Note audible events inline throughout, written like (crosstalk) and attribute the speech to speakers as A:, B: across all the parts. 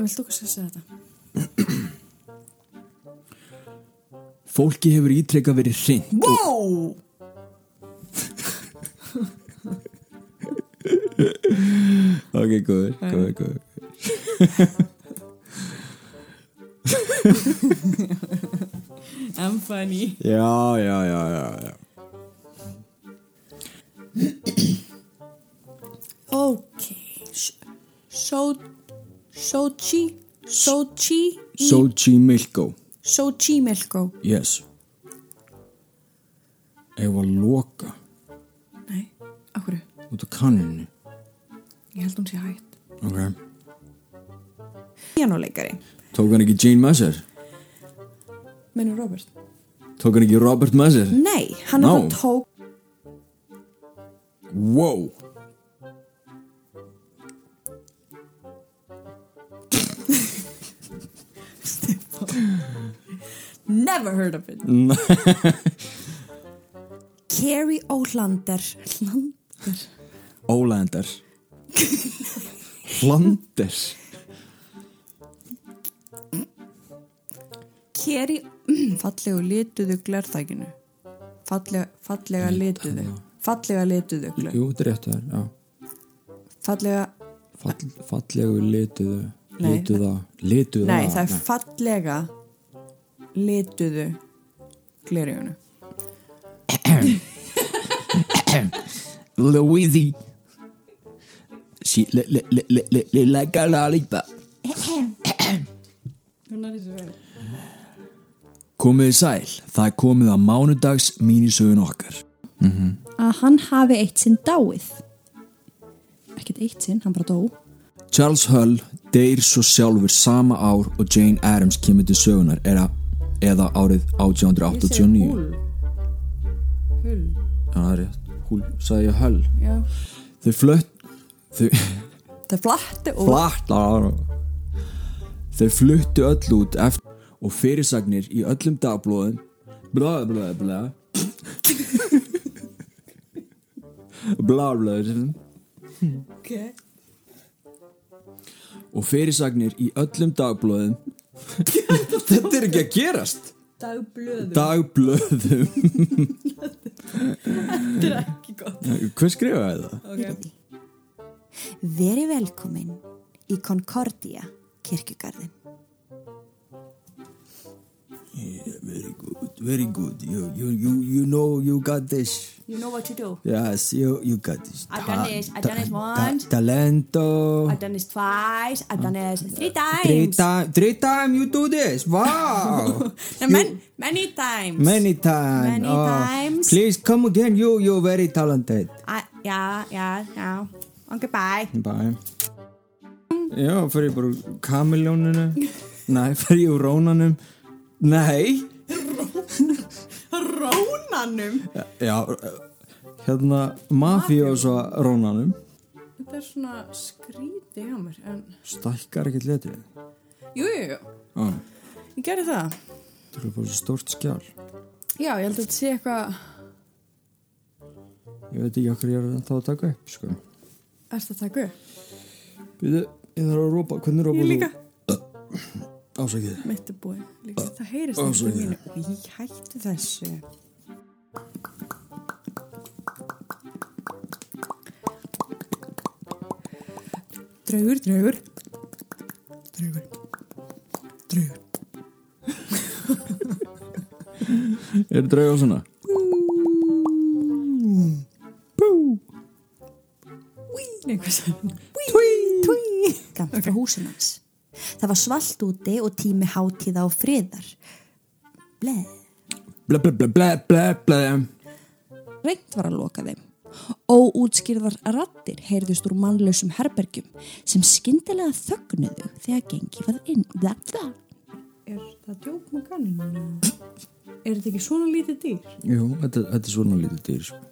A: Viltu okkur sér þetta?
B: Fólki hefur ítrekka verið hreint
A: Wow!
B: Ok, góður, góður, góður
A: I'm funny
B: Já, já, já, já, já.
A: Ok So Sochi Sochi
B: Sochi Milko
A: Sochi Melko
B: Yes Ef að loka
A: Nei, af hverju?
B: út af kanninu
A: Ég held hún sé hægt
B: Ok
A: Pianoleikari
B: Tók hann ekki Gene Messer?
A: Menur Robert
B: Tók hann ekki Robert Messer?
A: Nei, hann no.
B: Ná.
A: er það tók
B: Wow
A: Never heard of it (laughs) Carrie Ólander Hlander
B: Ólander
A: (laughs)
B: Hlander
A: Keri (clears throat) Fallega lituðu glerþækinu Fallega, fallega lituðu Fallega lituðu glör
B: Jú, þetta er rétt þar, já
A: Fallega,
B: Fall, Fallegu lituðu
A: Nei.
B: Lituða Lituða
A: nei það er fallega Lituðu Glerjónu
B: Louisi Sí, le, le, le, le, le, le, le, galalita Komið þið sæl, það er komið að mánudags mínisögun okkar
C: að hann hafi eitt sinn dáið ekkert eitt sinn, hann bara dó
B: Charles Hull deyr svo sjálfur sama ár og Jane Addams kemur til sögunar eða, eða árið 1889
A: Hull
B: Já, það er rétt. Húl, sagði ég Hull
A: Já.
B: Þau flutt Þau
A: Það er flatt og
B: flatt Þau fluttu öll út eftir og fyrirsagnir í öllum dagblóðum bla bla bla (laughs) bla bla
A: okay.
B: og fyrirsagnir í öllum
A: (laughs)
B: dagblóðum Þetta er ekki að gerast
A: Dagblöðu
B: dagblöðum
A: (laughs) Þetta er ekki gott
B: Hver skrifaði það?
A: okay.
C: Veri velkomin í Concordia kirkjugarðin
B: Very good, very good You, you, you, you know you got this
A: You know what to do
B: Yes, you, you got this
A: I've done this, I've done this once.
B: Talento
A: I've done this twice I've done this three times
B: Three times three time you do
A: (laughs)
B: this. Wow.
A: No, man, Many times
B: Many times. Oh,
A: Many times.
B: Please come again. You you're very talented.
A: I, Já, já, já Ok, bye
B: Bye. Já, fer ég bara úr kamiljóninu.
A: (laughs)
B: Nei, fer ég úr rónanum. Nei.
A: Rónanum
B: Já, hérna mafíósa rónanum.
A: Þetta er svona skrítið hjá mér en...
B: Stækkar ekkert letrið.
A: Jú, jú, jú,
B: Á,
A: ég gerði það
B: þetta er bara svo stórt skjál.
A: Já, ég held að þetta sé eitthvað
B: Ég veit ekki okkur ég er ennþá að taka upp, sko.
A: Ertu að taka upp?
B: Býðu, ég þarf að rópa, hvernig rópa
A: Ég
B: þú?
A: líka
B: Ásakið.
A: Mitt er búið líka. Það heyrist ekki mínu Í hættu þessu Draugur, draugur Draugur Draugur
B: Er drauga svona?
A: Nei, hvað sagði hann?
C: Tví! Gamt frá húsum hans Það var svalt úti og tími hátíða og friðar Bleð
B: Bla bla bla bla bla bla
C: Reynt var að loka þeim Óútskýrðar rattir heyrðust úr mannlausum herbergjum sem skyndilega þögnuðu þegar gengi var inn Þetta
A: Er það djók með kanninu? Er þetta ekki svona lítið dýr?
B: Jú, þetta, þetta er svona lítið dýr sko.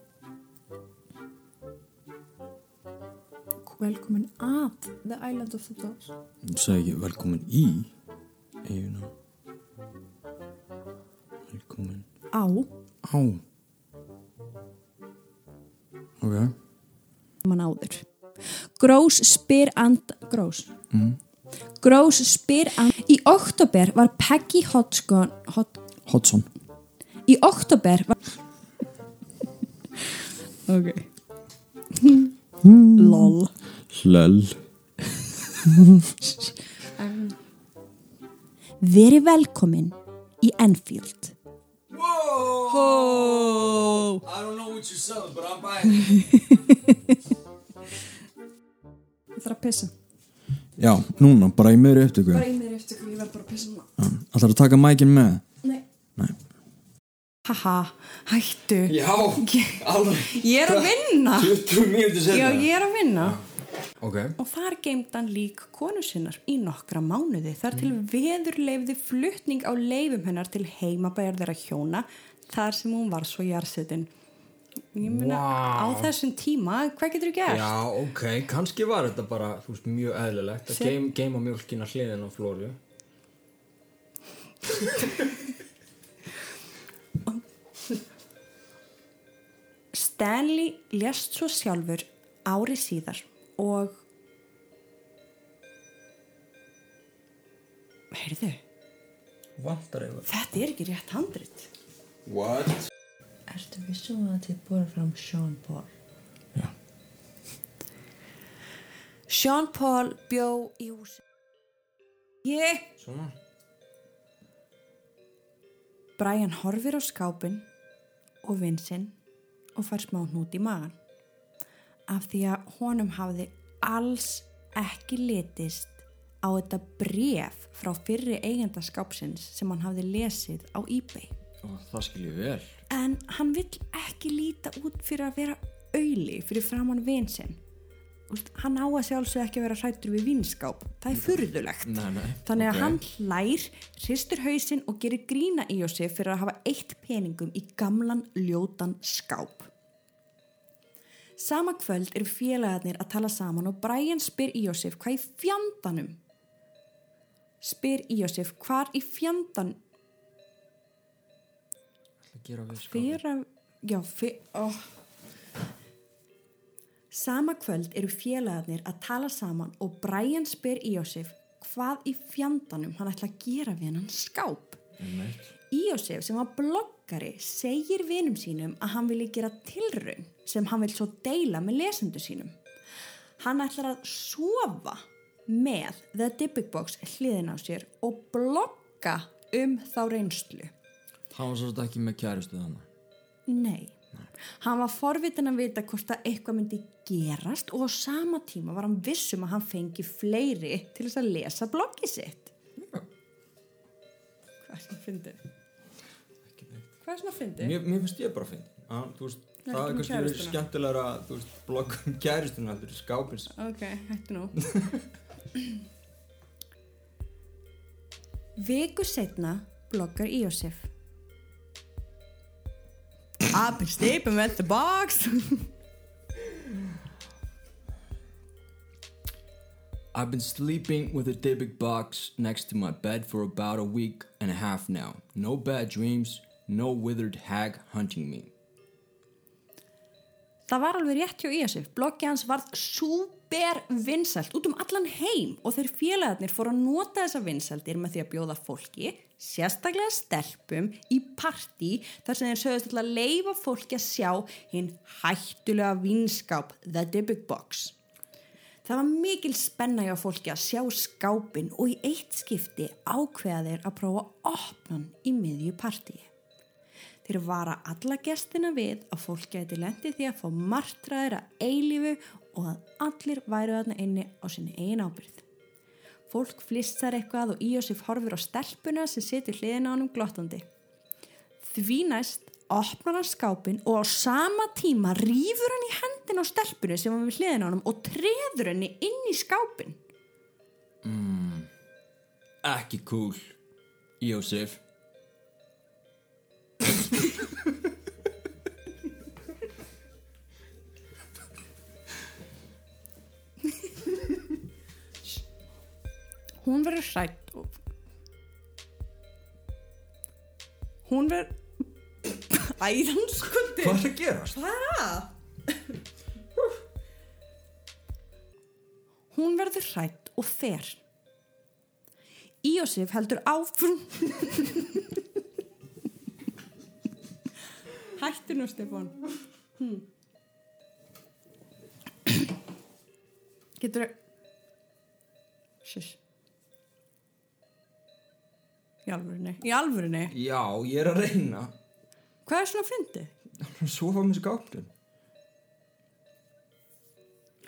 A: Velkomin að The Island of the Dogs
B: Ég Sagði ekki velkomin í Eifina Velkomin
A: Á
C: um
B: á Ok
C: mann áður Grós spyr and Grós mm.
A: Gross spyr að í oktober var Peggy Hodgson Hod,
D: Hodson
A: í oktober var ok
E: Hmm.
A: lol
D: Hlöll
A: veri velkomin í Enfield
D: Whoa! I don't know what you're selling, but I'm buying it.
E: Ég þarf að pissa.
D: Já, núna, bara í miðri upptöku
E: í mér eftir hvað ég verð bara að pissa núna.
D: Það þarf að taka mækin með
E: Nei.
D: Nei.
E: Haha, hættu.
D: Já, alveg
E: Ég er að vinna.
D: 20 mínútur
E: Já, ég er að vinna.
D: Ok
E: Og þar geimd hann lík konu sinnar í nokkra mánuði þar til veður leifði flutning á leifum hennar til heimabæjar þeirra hjóna þar sem hún var svo jarðsetin. Ég meina, á þessum tíma, hvað getur þú gert?
B: Já, ok, kannski var þetta bara þú veist, mjög eðlilegt að geim, geima mjölkina hliðin á Flóru
E: Stanley lest svo sjálfur ári síðar og... Heyrðu,
B: Vantar yfir
E: þetta er ekki rétt handrit.
D: What?
F: Ertu vissum að þið búið fram Sean Paul?
E: Sean Paul bjó í húsi. Ég...
B: Svona
E: Brian horfir á skápin og vinsinn og fær smá hnút í magan af því að honum hafði alls ekki litist á þetta bref frá fyrri eigenda skápsins sem hann hafði lesið á eBay.
B: Ó, Það skil ég vel
E: En hann vill ekki líta út fyrir að vera auðli fyrir framann vinsinn. Hann á að sjálfsög ekki að vera hrættur við vinskáp. Það er furðulegt.
B: Nei, nei,
E: Þannig að
B: ok.
E: hann hlær, hristur hausinn og gerir grína í Jósef fyrir að hafa eitt peningum í gamlan ljótan skáp. Sama kvöld eru félagarnir að tala saman og Brian spyr í Jósef hvað í fjandanum? Spyr í Jósef hvað í fjandanum?
B: Það gera við sko
E: Fyrra, já, fyrra, oh. Sama kvöld eru félagarnir að tala saman og Brian spyr Íosif hvað í fjandanum hann ætla að gera við hennan skáp. Íosif sem var bloggari segir vinum sínum að hann vilji gera tilraun sem hann vil svo deila með lesendu sínum. Hann ætlar að sofa með The Dipping Box hliðin á sér og blogga um þá reynslu.
B: Hann var svolítið ekki með kæristu þannig
E: Nei. Hann var forvitin að vita hvort að eitthvað myndi gerast og á sama tíma var hann vissum að hann fengi fleiri til þess að lesa bloggi sitt. Hvað er svona fyndið? Hvað er svona fyndið?
B: Mér, mér finnst ég bara að finna að, þú veist, Það er
E: ekki með
B: kannski verið
E: kærustuna.
B: skemmtilegra að, þú veist, blogga um kæristuna heldur en skápins
E: Ok, hættu nú. Viku setna bloggar Íosef. I've been sleeping with the box.
B: I've been sleeping with a Dybbuk box next to my bed for about a week and a half now. No bad dreams, no withered hag hunting me.
E: Það var alveg rétt hjá Íasif. Bloggið hans varð súper vinsælt út um allan heim og þeir félagarnir fóru að nota þessa vinsæltir með því að bjóða fólki, sérstaklega stelpum, í partí þar sem þeir sögðust alltaf að leifa fólki að sjá hinn hættulega vinskáp The Dybbuk Box. Það var mikil spenna hjá fólki að sjá skápin og í eitt skipti ákveða þeir að prófa að opna hann í miðju partíi. Þeir vara alla gestina við að fólk gæti lendi því að fá martraðir að eilífu og að allir væru þarna inni á sinni eigin ábyrð. Fólk flissar eitthvað og Íosif horfir á stelpuna sem situr hliðin á honum glottandi. Því næst opnar hann skápin og á sama tíma rýfur hann í hendin á stelpunu sem var við hliðin á honum og treður henni inn í skápin.
B: Ekki cool, Jósef.
E: Hún verður hrætt og... Hún (coughs) verður... Æðanskundi!
B: Hvað er að gerast?
E: (laughs) Hún verður hrætt og fer. Íosif heldur áfram (laughs) Hættu nú Stefán hmm. (coughs) Getur Sjöss Í alvörinni Í alvörinni
B: Já, ég er að reyna.
E: Hvað er svona fyndið?
B: Svo fá mér skápnum.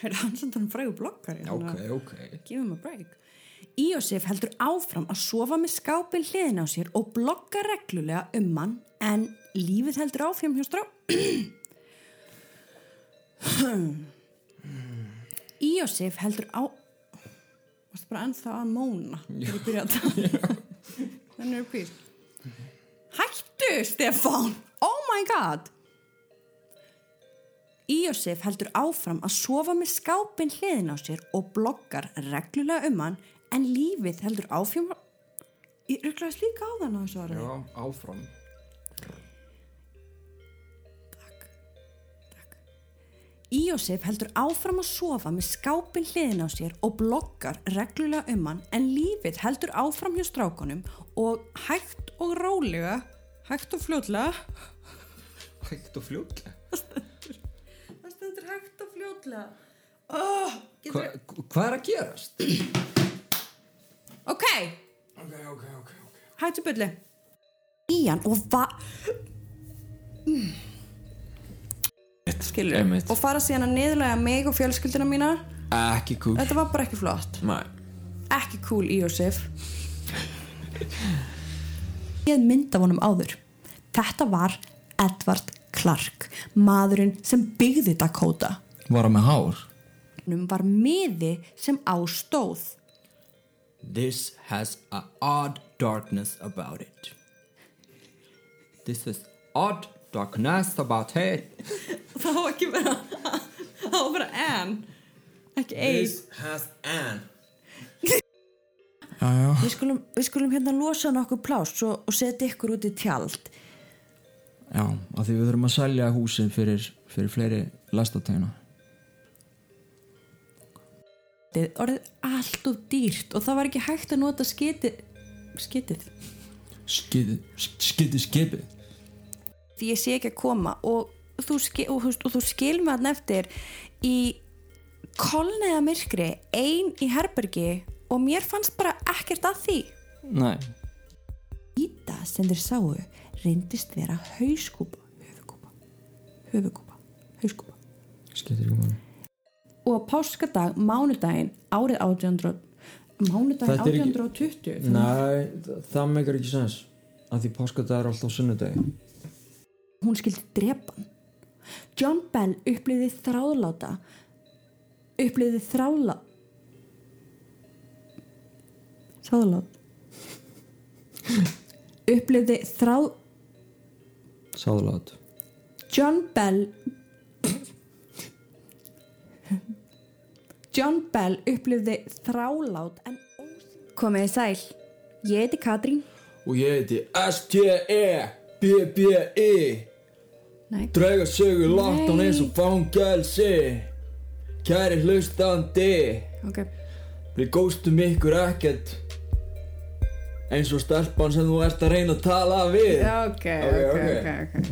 E: Er hann samt hann frægur blokkari?
B: Já,
E: þannig
B: ok,
E: að-
B: ok.
E: Give him a break. Íosif heldur áfram að sofa með skápin hliðin á sér og blogga reglulega um hann en lífið heldur áfram hjá strá. Íosif heldur á... Varstu bara ennþá að móna þegar ég byrja að tala. Þannig er pýr. Hættu, Stefán! Oh my god! Íosif heldur áfram að sofa með skápin hliðin á sér og bloggar reglulega um hann en lífið heldur áfram Ég rugglaðist líka á þannig að þessu
B: Já,
E: aðra
B: áfram.
E: Íosif heldur áfram að sofa með skápin hliðin á sér og bloggar reglulega um hann en lífið heldur áfram hjá strákonum og hægt og rólega hægt og fljótlega
B: Hægt og fljótlega.
E: Það stendur hægt og fljótlega
B: Hva, hvað er að gerast?
E: Ok,
B: ok, ok, ok, ok.
E: hættu byrli Ían og va... skilur
D: Einmitt.
E: og fara síðan að niðurlega mig og fjölskyldina mína
D: Ekki kúl
E: þetta var bara ekki flott
D: Nei
E: ekki cool í Jósef
A: Ég mynd af honum áður. Þetta var Edvard Clark, maðurinn sem byggði Dakota.
D: Var hann með hár?
E: honum var miði sem á stóð
B: This has a odd darkness about it. This is odd darkness about it.
E: það var ekki vera það var bara en ekki eis
B: has an.
E: við skulum, við skulum hérna losa nokkuð pláss og, og setja ykkur út í tjald
D: Já, af því við þurfum að selja húsin fyrir, fyrir fleiri lastatæna
E: Þið orðið allt og dýrt og það var ekki hægt að nota skitið skitið
D: Skiti, skiti skipi
E: því ég sé ekki að koma og þú, ske, og, og, og þú skil mig hann eftir í kolneða myrkri ein í herbergi og mér fannst bara ekkert að því
D: Nei
A: Íta sem þeir sáu reyndist vera hauskúpa, höfukúpa, höfukúpa, hauskúpa.
D: Skiti ekki máli
E: og á páskadag, mánudaginn árið 1800 mánudaginn
D: Þetta er ekki-
E: 1820
D: Nei, þa- það megar ekki sens af því páskata er alltaf sunnudegi
A: Hún skildi drepan.
E: John Bell upplýði þráðláta upplýði þráðlá þráðlát upplýði þrá
D: Sáðlát
E: John Bell John Bell upplýði þrálát en ósýn komiði sæl ég heiti Katrín
B: Og ég heiti E S-T-E-B-B-I
E: Nei.
B: Drega E. sögu látt án eins og fangelsi Kæri hlustandi
E: ok
B: Við góstum ykkur ekkert Eins og stelpan sem þú ert að reyna að tala við
E: ok,
B: Ok, ok, ok.
E: okay.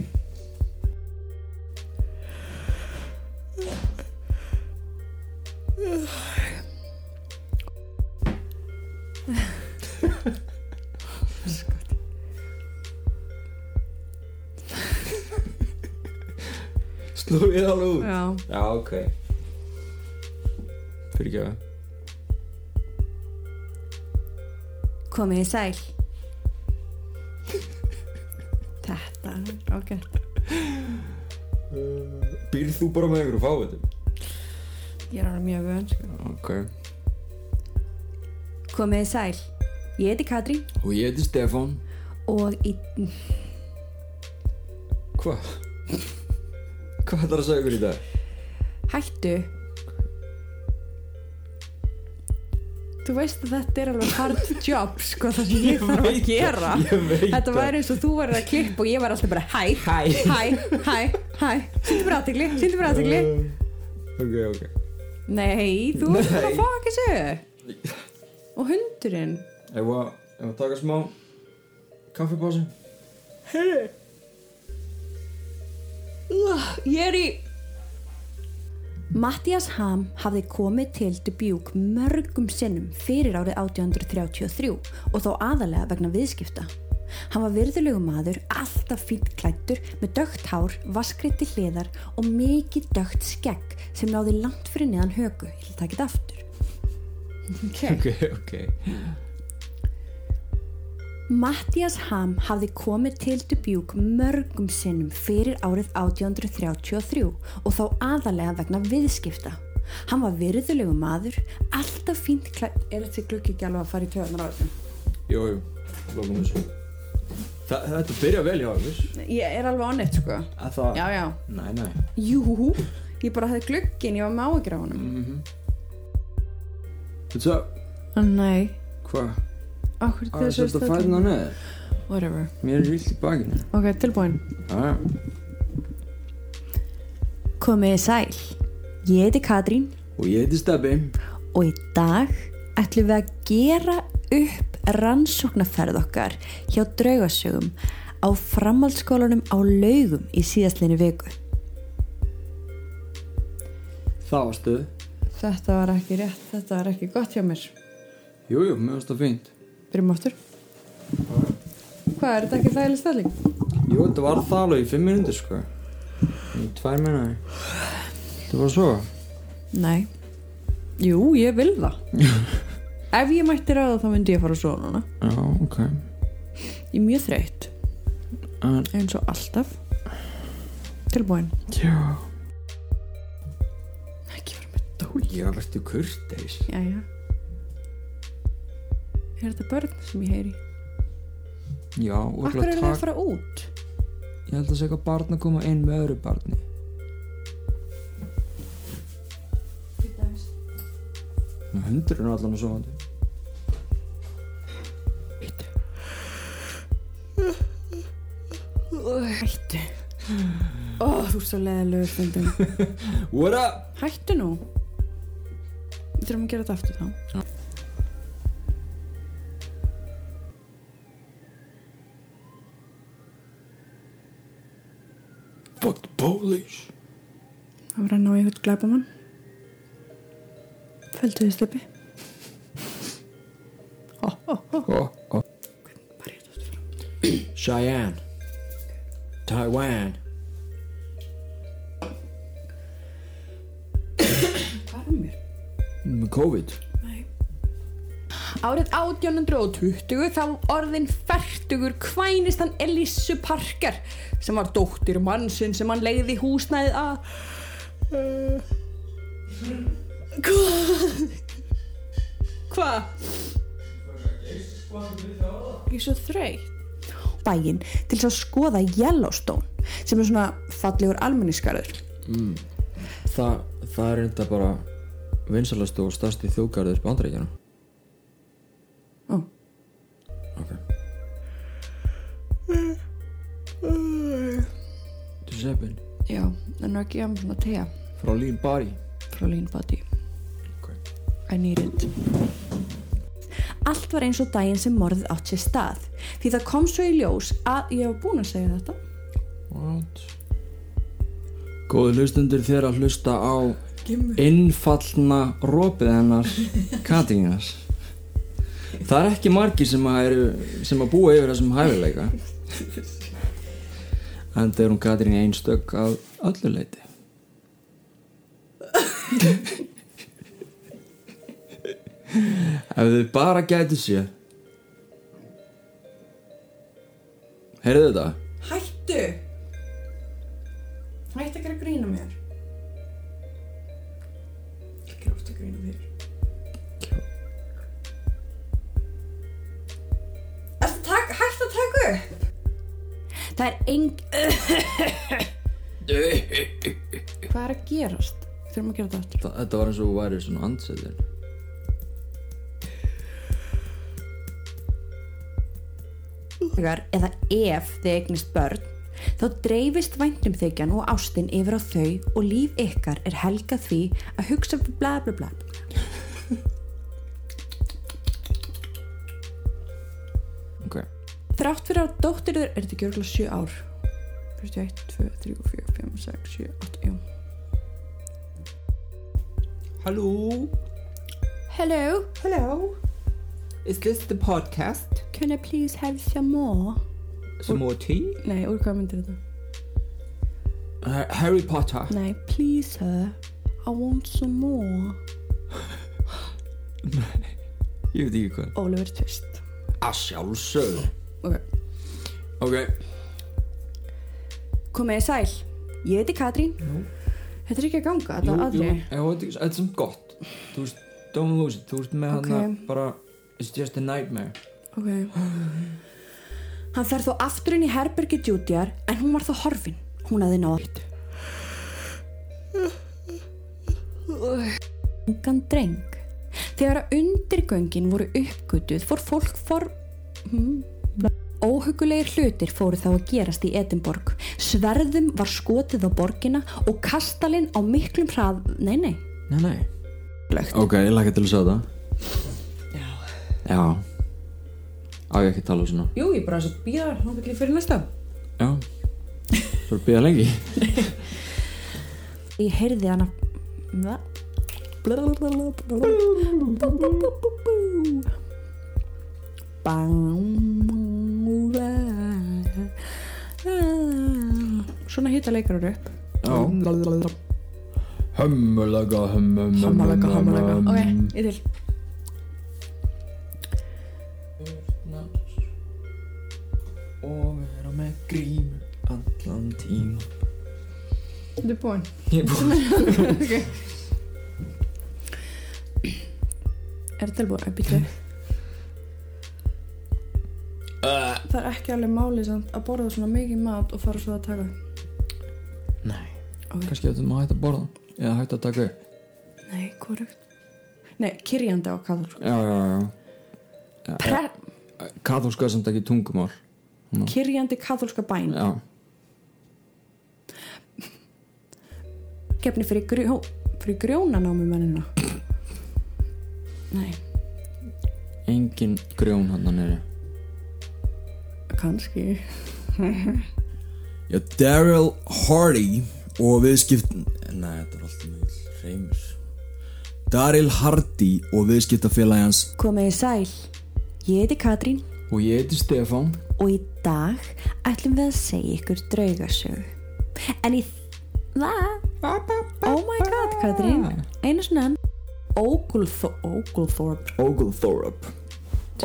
B: Sló ég alveg út
E: já
B: Já, ok Fyrir ekki að
E: Komið í sæl Þetta er ágætt
B: Býrð þú bara með ykkur og fá þetta
E: Ég er alveg mjög vön sko.
B: Ok
E: Komið í sæl Ég heiti Katrín
B: Og ég heiti Stefan
E: og í...
B: Hva? (laughs) Hvað ætlar að segja ykkur í dag?
E: hættu Þú veist að þetta er alveg hard job sko það sem ég þarf að gera Þetta væri eins og þú væri að klippa og ég væri alltaf bara hæ, hæ, hæ, hæ, hæ Sýndu bara aðtegli, sýndu bara aðtegli
B: Ok, ok
E: Nei, þú veist bara að fá ekki sér Og hundurinn
B: Ef að, ef að taka smá kaffibási?
E: Ég er í... Mattias Ham hafði komið til Dubuque mörgum sinnum fyrir árið 1833 og þó aðalega vegna viðskipta. Hann var virðulegu maður, alltaf fínt klættur, með dögt hár, vaskreiti hliðar og mikið dögt skegg sem náði langt fyrir neðan högu. Ég vil taka þetta aftur.
B: Ok, ok.
E: Mattias Ham hafði komið til Dubuque mörgum sinnum fyrir árið 1833 og þá aðalega vegna viðskipta. Hann var virðulegu maður, alltaf fínt klætt... Er þessi gluggi ekki alveg að fara í töðunar á þessu?
B: Jú, jú, lokum þessu. Þa, þetta byrja vel hjá okkur.
E: Ég er alveg onnit, sko.
B: Að það?
E: Já, já.
B: Nei, nei.
E: Jú, ég bara hafði glugginn, ég var með áhyggjur á honum.
B: What's up?
E: Ah, Nei,
B: Hvað?
E: okkur
B: Það er svolítið að fæta það neður.
E: Whatever.
B: Mér er vilt í bakinu.
E: Ok, tilbúin.
B: Já, já.
E: Komiði sæl. Ég heiti Katrín
B: Og ég heiti Stebbi.
E: og í dag ætlum við að gera upp rannsóknarferð okkar hjá draugasögum á framhaldsskólanum á laugum í síðastleinu viku.
B: Það var stöð.
F: Þetta var ekki rétt, þetta var ekki gott hjá mér.
B: Jú, jú, mér finnst það fínt.
F: Byrjum aftur. Hvað, er þetta ekki þægileg stælling?
B: Jú, þetta var það alveg í fimm minúti, sko. Í tvær minnaði. Þetta var svo.
F: Nei. Jú, ég vil það. (laughs) Ef ég mætti ráða þá myndi ég fara svo núna.
B: Já, ok.
F: Ég er mjög þreytt,
B: En,
F: eins og alltaf. Tilbúin.
B: já.
F: Ekki vera með dói.
B: Já, verður kurteis.
F: Jæja. Er þetta börn sem ég heyri?
B: Já, og
F: Akkur
B: örugglega
F: er það að fara út?
B: Ég held að segja að barn að koma inn með öðru barni. Nú, Hundurinn er allan og sofandi.
F: Hættu. Ó, þú er svo leðilegur stundum.
B: What up?
F: Hættu nú. Við þurfum að gera þetta aftur þá.
B: Fuck the police.
F: Það var að ná í einhvern glæbamann. Földu þið slippi.
B: Oh, oh.
F: Bara ég þetta aftur.
B: Cheyenne. Taiwan.
F: Hvað er mér?
B: Með COVID.
F: Nei.
E: Árið 1820 þá orðin færtugur kvænist hann Elissu Parker sem var dóttir mannsinn sem hann leiði húsnæðið að uh, Hvað? Hvað?
F: Ég er svo þreytt.
E: Bæinn til þess að skoða Yellowstone sem er svona fallegur almenniskarður
B: Þa, það er enda bara vinsalastu og stærsti þjóðgarður bandaríkjana.
F: Ó.
B: Ok. Giuseppe,
F: Já, en nú ekki um ég hafa svona tegja
B: frá Lean Body.
F: frá Lean Body.
B: Ok.
F: I need it.
E: Allt var eins og daginn sem morðið átt sér stað því það kom svo í ljós að ég var búin að segja þetta
B: What? Góði hlustundur þér að hlusta á innfallna rópið hennar Katringas Það er ekki margir sem að, eru, sem að búa yfir þessum hæfileika En það er hún Katrín einstök að öllu leiti Ef þið bara gætu sér Heyrðu þetta?
F: Hættu! Hættu ekki að grína mér. Ekki ofta að grína mér. Takk, hættu að taka upp!
E: Það er eng...
F: Hvað er að gerast? Við þurfum að gera þetta aftur.
B: Þa- Þetta var eins og þú værið svona andsetin
E: þegar eða ef þið eignist börn þá dreifist væntumþykjan og ástin yfir á þau og líf ykkar er helgað því að hugsa bla bla bla þrátt fyrir að dóttir þér er þetta ekki örgulega 7 ár 41, 2, 3, 4, 5, 6, 7, 8, já
A: Hello.
E: Hello,
A: Hello. Is this the podcast?
E: can I please have some more?
A: Some more tea?
E: Nei, úr hvað myndir þetta?
A: Uh, Harry Potter.
E: Nei, please sir, I want some more
B: Ég veit ekki hvað
E: Oliver Twist
A: Að sjálfsögðu.
E: Ok,
B: Ok,
E: komið í sæl Ég heiti Katrín Þetta er ekki að
B: Jú,
E: ganga, þetta
B: jú,
E: aðri
B: ég veit ekki, þetta er samt gott Þú veist, don't lose it, þú veist með
E: Ok.
B: okay. hann bara It's just a nightmare
E: Ok Hann fer þó aftur inn í herbergi djúdjar En hún var þó horfin Hún hafði nátt Ungan dreng Þegar að undirgöngin voru uppgötuð Fór fólk for Óhugulegir hlutir fóru þá að gerast í Edinborg. Sverðum var skotið á borgina og kastalinn á miklum hrað... Nei, nei.
B: Nei, nei Ok, ég lakka til að sjá það Já Já Á ég ekki að tala um svona
G: Jú, ég bara þess að býða hún vil ég fyrir næsta.
B: Já Bara býða lengi
E: Ég heyrði hana... Hva? Blablabla. Svona hita leikar eru upp.
B: Já Hömmulega, hömmulega
E: Hammalega, hammalega. Ok, ég til.
B: Og vera með grím Allan tíma
E: Þetta er búinn.
B: Ég er búin
E: Er þetta alveg að byrja? Það er ekki alveg máli samt að borða svona mikið mat og fara svo að taka
B: Nei
E: Ok.
B: Kannski þetta maður hægt að borða Eða hægt að taka upp
E: Nei, hvorugt Nei, kyrjandi á kallar
B: Já, já, já
E: Pre
B: Katholska er samt ekki tungumál
E: Mm. Kyrjandi katholska bæn
B: Já
E: Kefni fyrir, grjó, fyrir grjónanámi mennina Nei,
B: Engin grjón hann nýri
E: kannski
H: Já, Daryl Hardy og viðskipt... Nei, þetta er alltaf mjög reymur. Daryl Hardy og viðskiptafélagi hans
E: Komið í sæl Ég heiti Katrín
B: Og ég heiti Stefán
E: og í dag ætlum við að segja ykkur draugasögu en í það oh my god Katrín einu svona enn Oglethor- Oglethorpe
B: Oglethorpe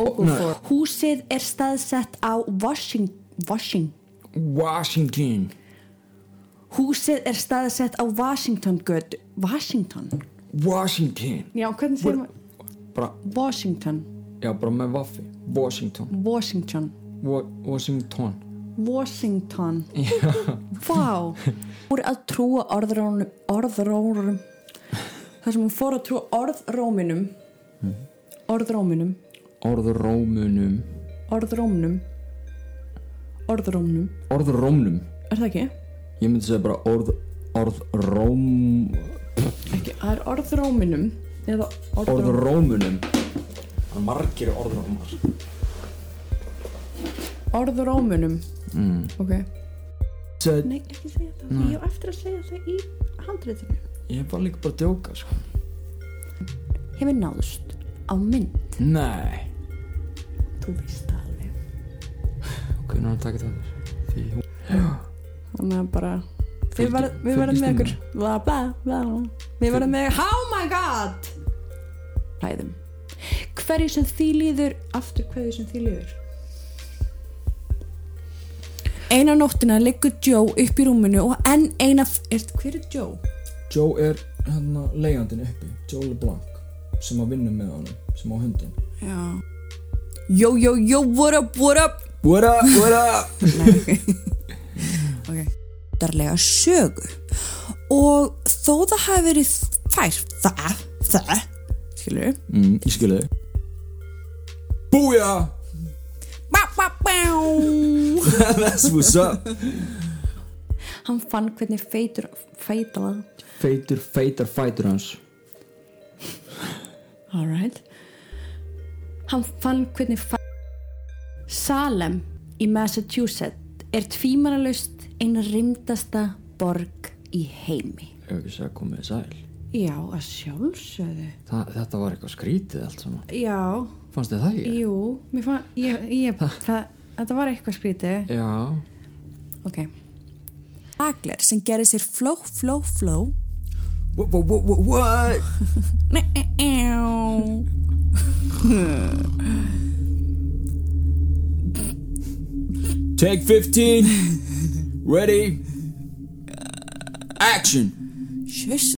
E: Oglethorpe húsið er staðsett á Washing, Washing
B: Washington
E: húsið er staðsett á Washington götu Washington
B: Washington
E: já hvernig segir maður
B: bara,
E: Washington
B: Já, bara með vaffi Washington
E: Washington
B: Wa Washington
E: Washington Vá Hún er að trúa orðrónum orðrónum þar sem hún fór að trúa orðróminum Mm. orðróminum
B: Orðrómunum
E: orðróminum orðróminum
B: Orðrómnum
E: er það ekki?
B: Ég myndi segja bara orð Orðróm
E: ekki það er orðróminum eða orðróminum
B: Orðrómunum Það er margir orðrómar
E: orðróminum mm. ok
B: Sæt,
E: nei ekki segja það ég á eftir að segja það í handreitinu
B: Ég var líka bara að djóka sko
E: hefur náðust á mynd
B: Nei
E: þú veist það alveg
B: Ok, nú er hann að taka það Því hún
E: þannig að bara við
B: Fylgi-
E: verð- við verðum með
B: fylgist
E: ykkur bla, bla, bla, bla. við verðum með oh my god hlæðum hverju sem því líður aftur hverju sem því líður eina nóttina liggur Joe upp í rúminu og enn eina er, hver er Joe?
H: Joe er hérna leigjandinn uppi, Joe LeBlanc sem að vinna með honum, sem á hundin
E: já yo yo yo what up what up
H: What up, what up
I: (laughs) darlega sögu og þó það hafi verið fær það, það skilur
H: mm, Ég skilu þig Búja
I: bá, bá, bá.
H: (laughs) That's what's up
E: hann fann hvernig feitur feitala
B: Feitur, feitar, fætur hans
E: alright hann fann hvernig fe- Salem í Massachusetts er tvímaralaust ein rimdasta borg í heimi.
B: Ef ekki segja komið sæl
E: Já, að sjálfsögðu.
B: Þa, Þetta var eitthvað skrítið allt saman
E: Já,
B: Fannst þið það ekki?
E: jú, mér fann, ég, ég, það, þetta var eitthvað skrítið.
B: Já,
E: Ok,
J: Agler sem gerði sér fló, fló, fló
K: Wha- wha- wha- wha-
J: (laughs)
K: What?
J: e,
K: Take 15 Ready Action
J: Sjöss,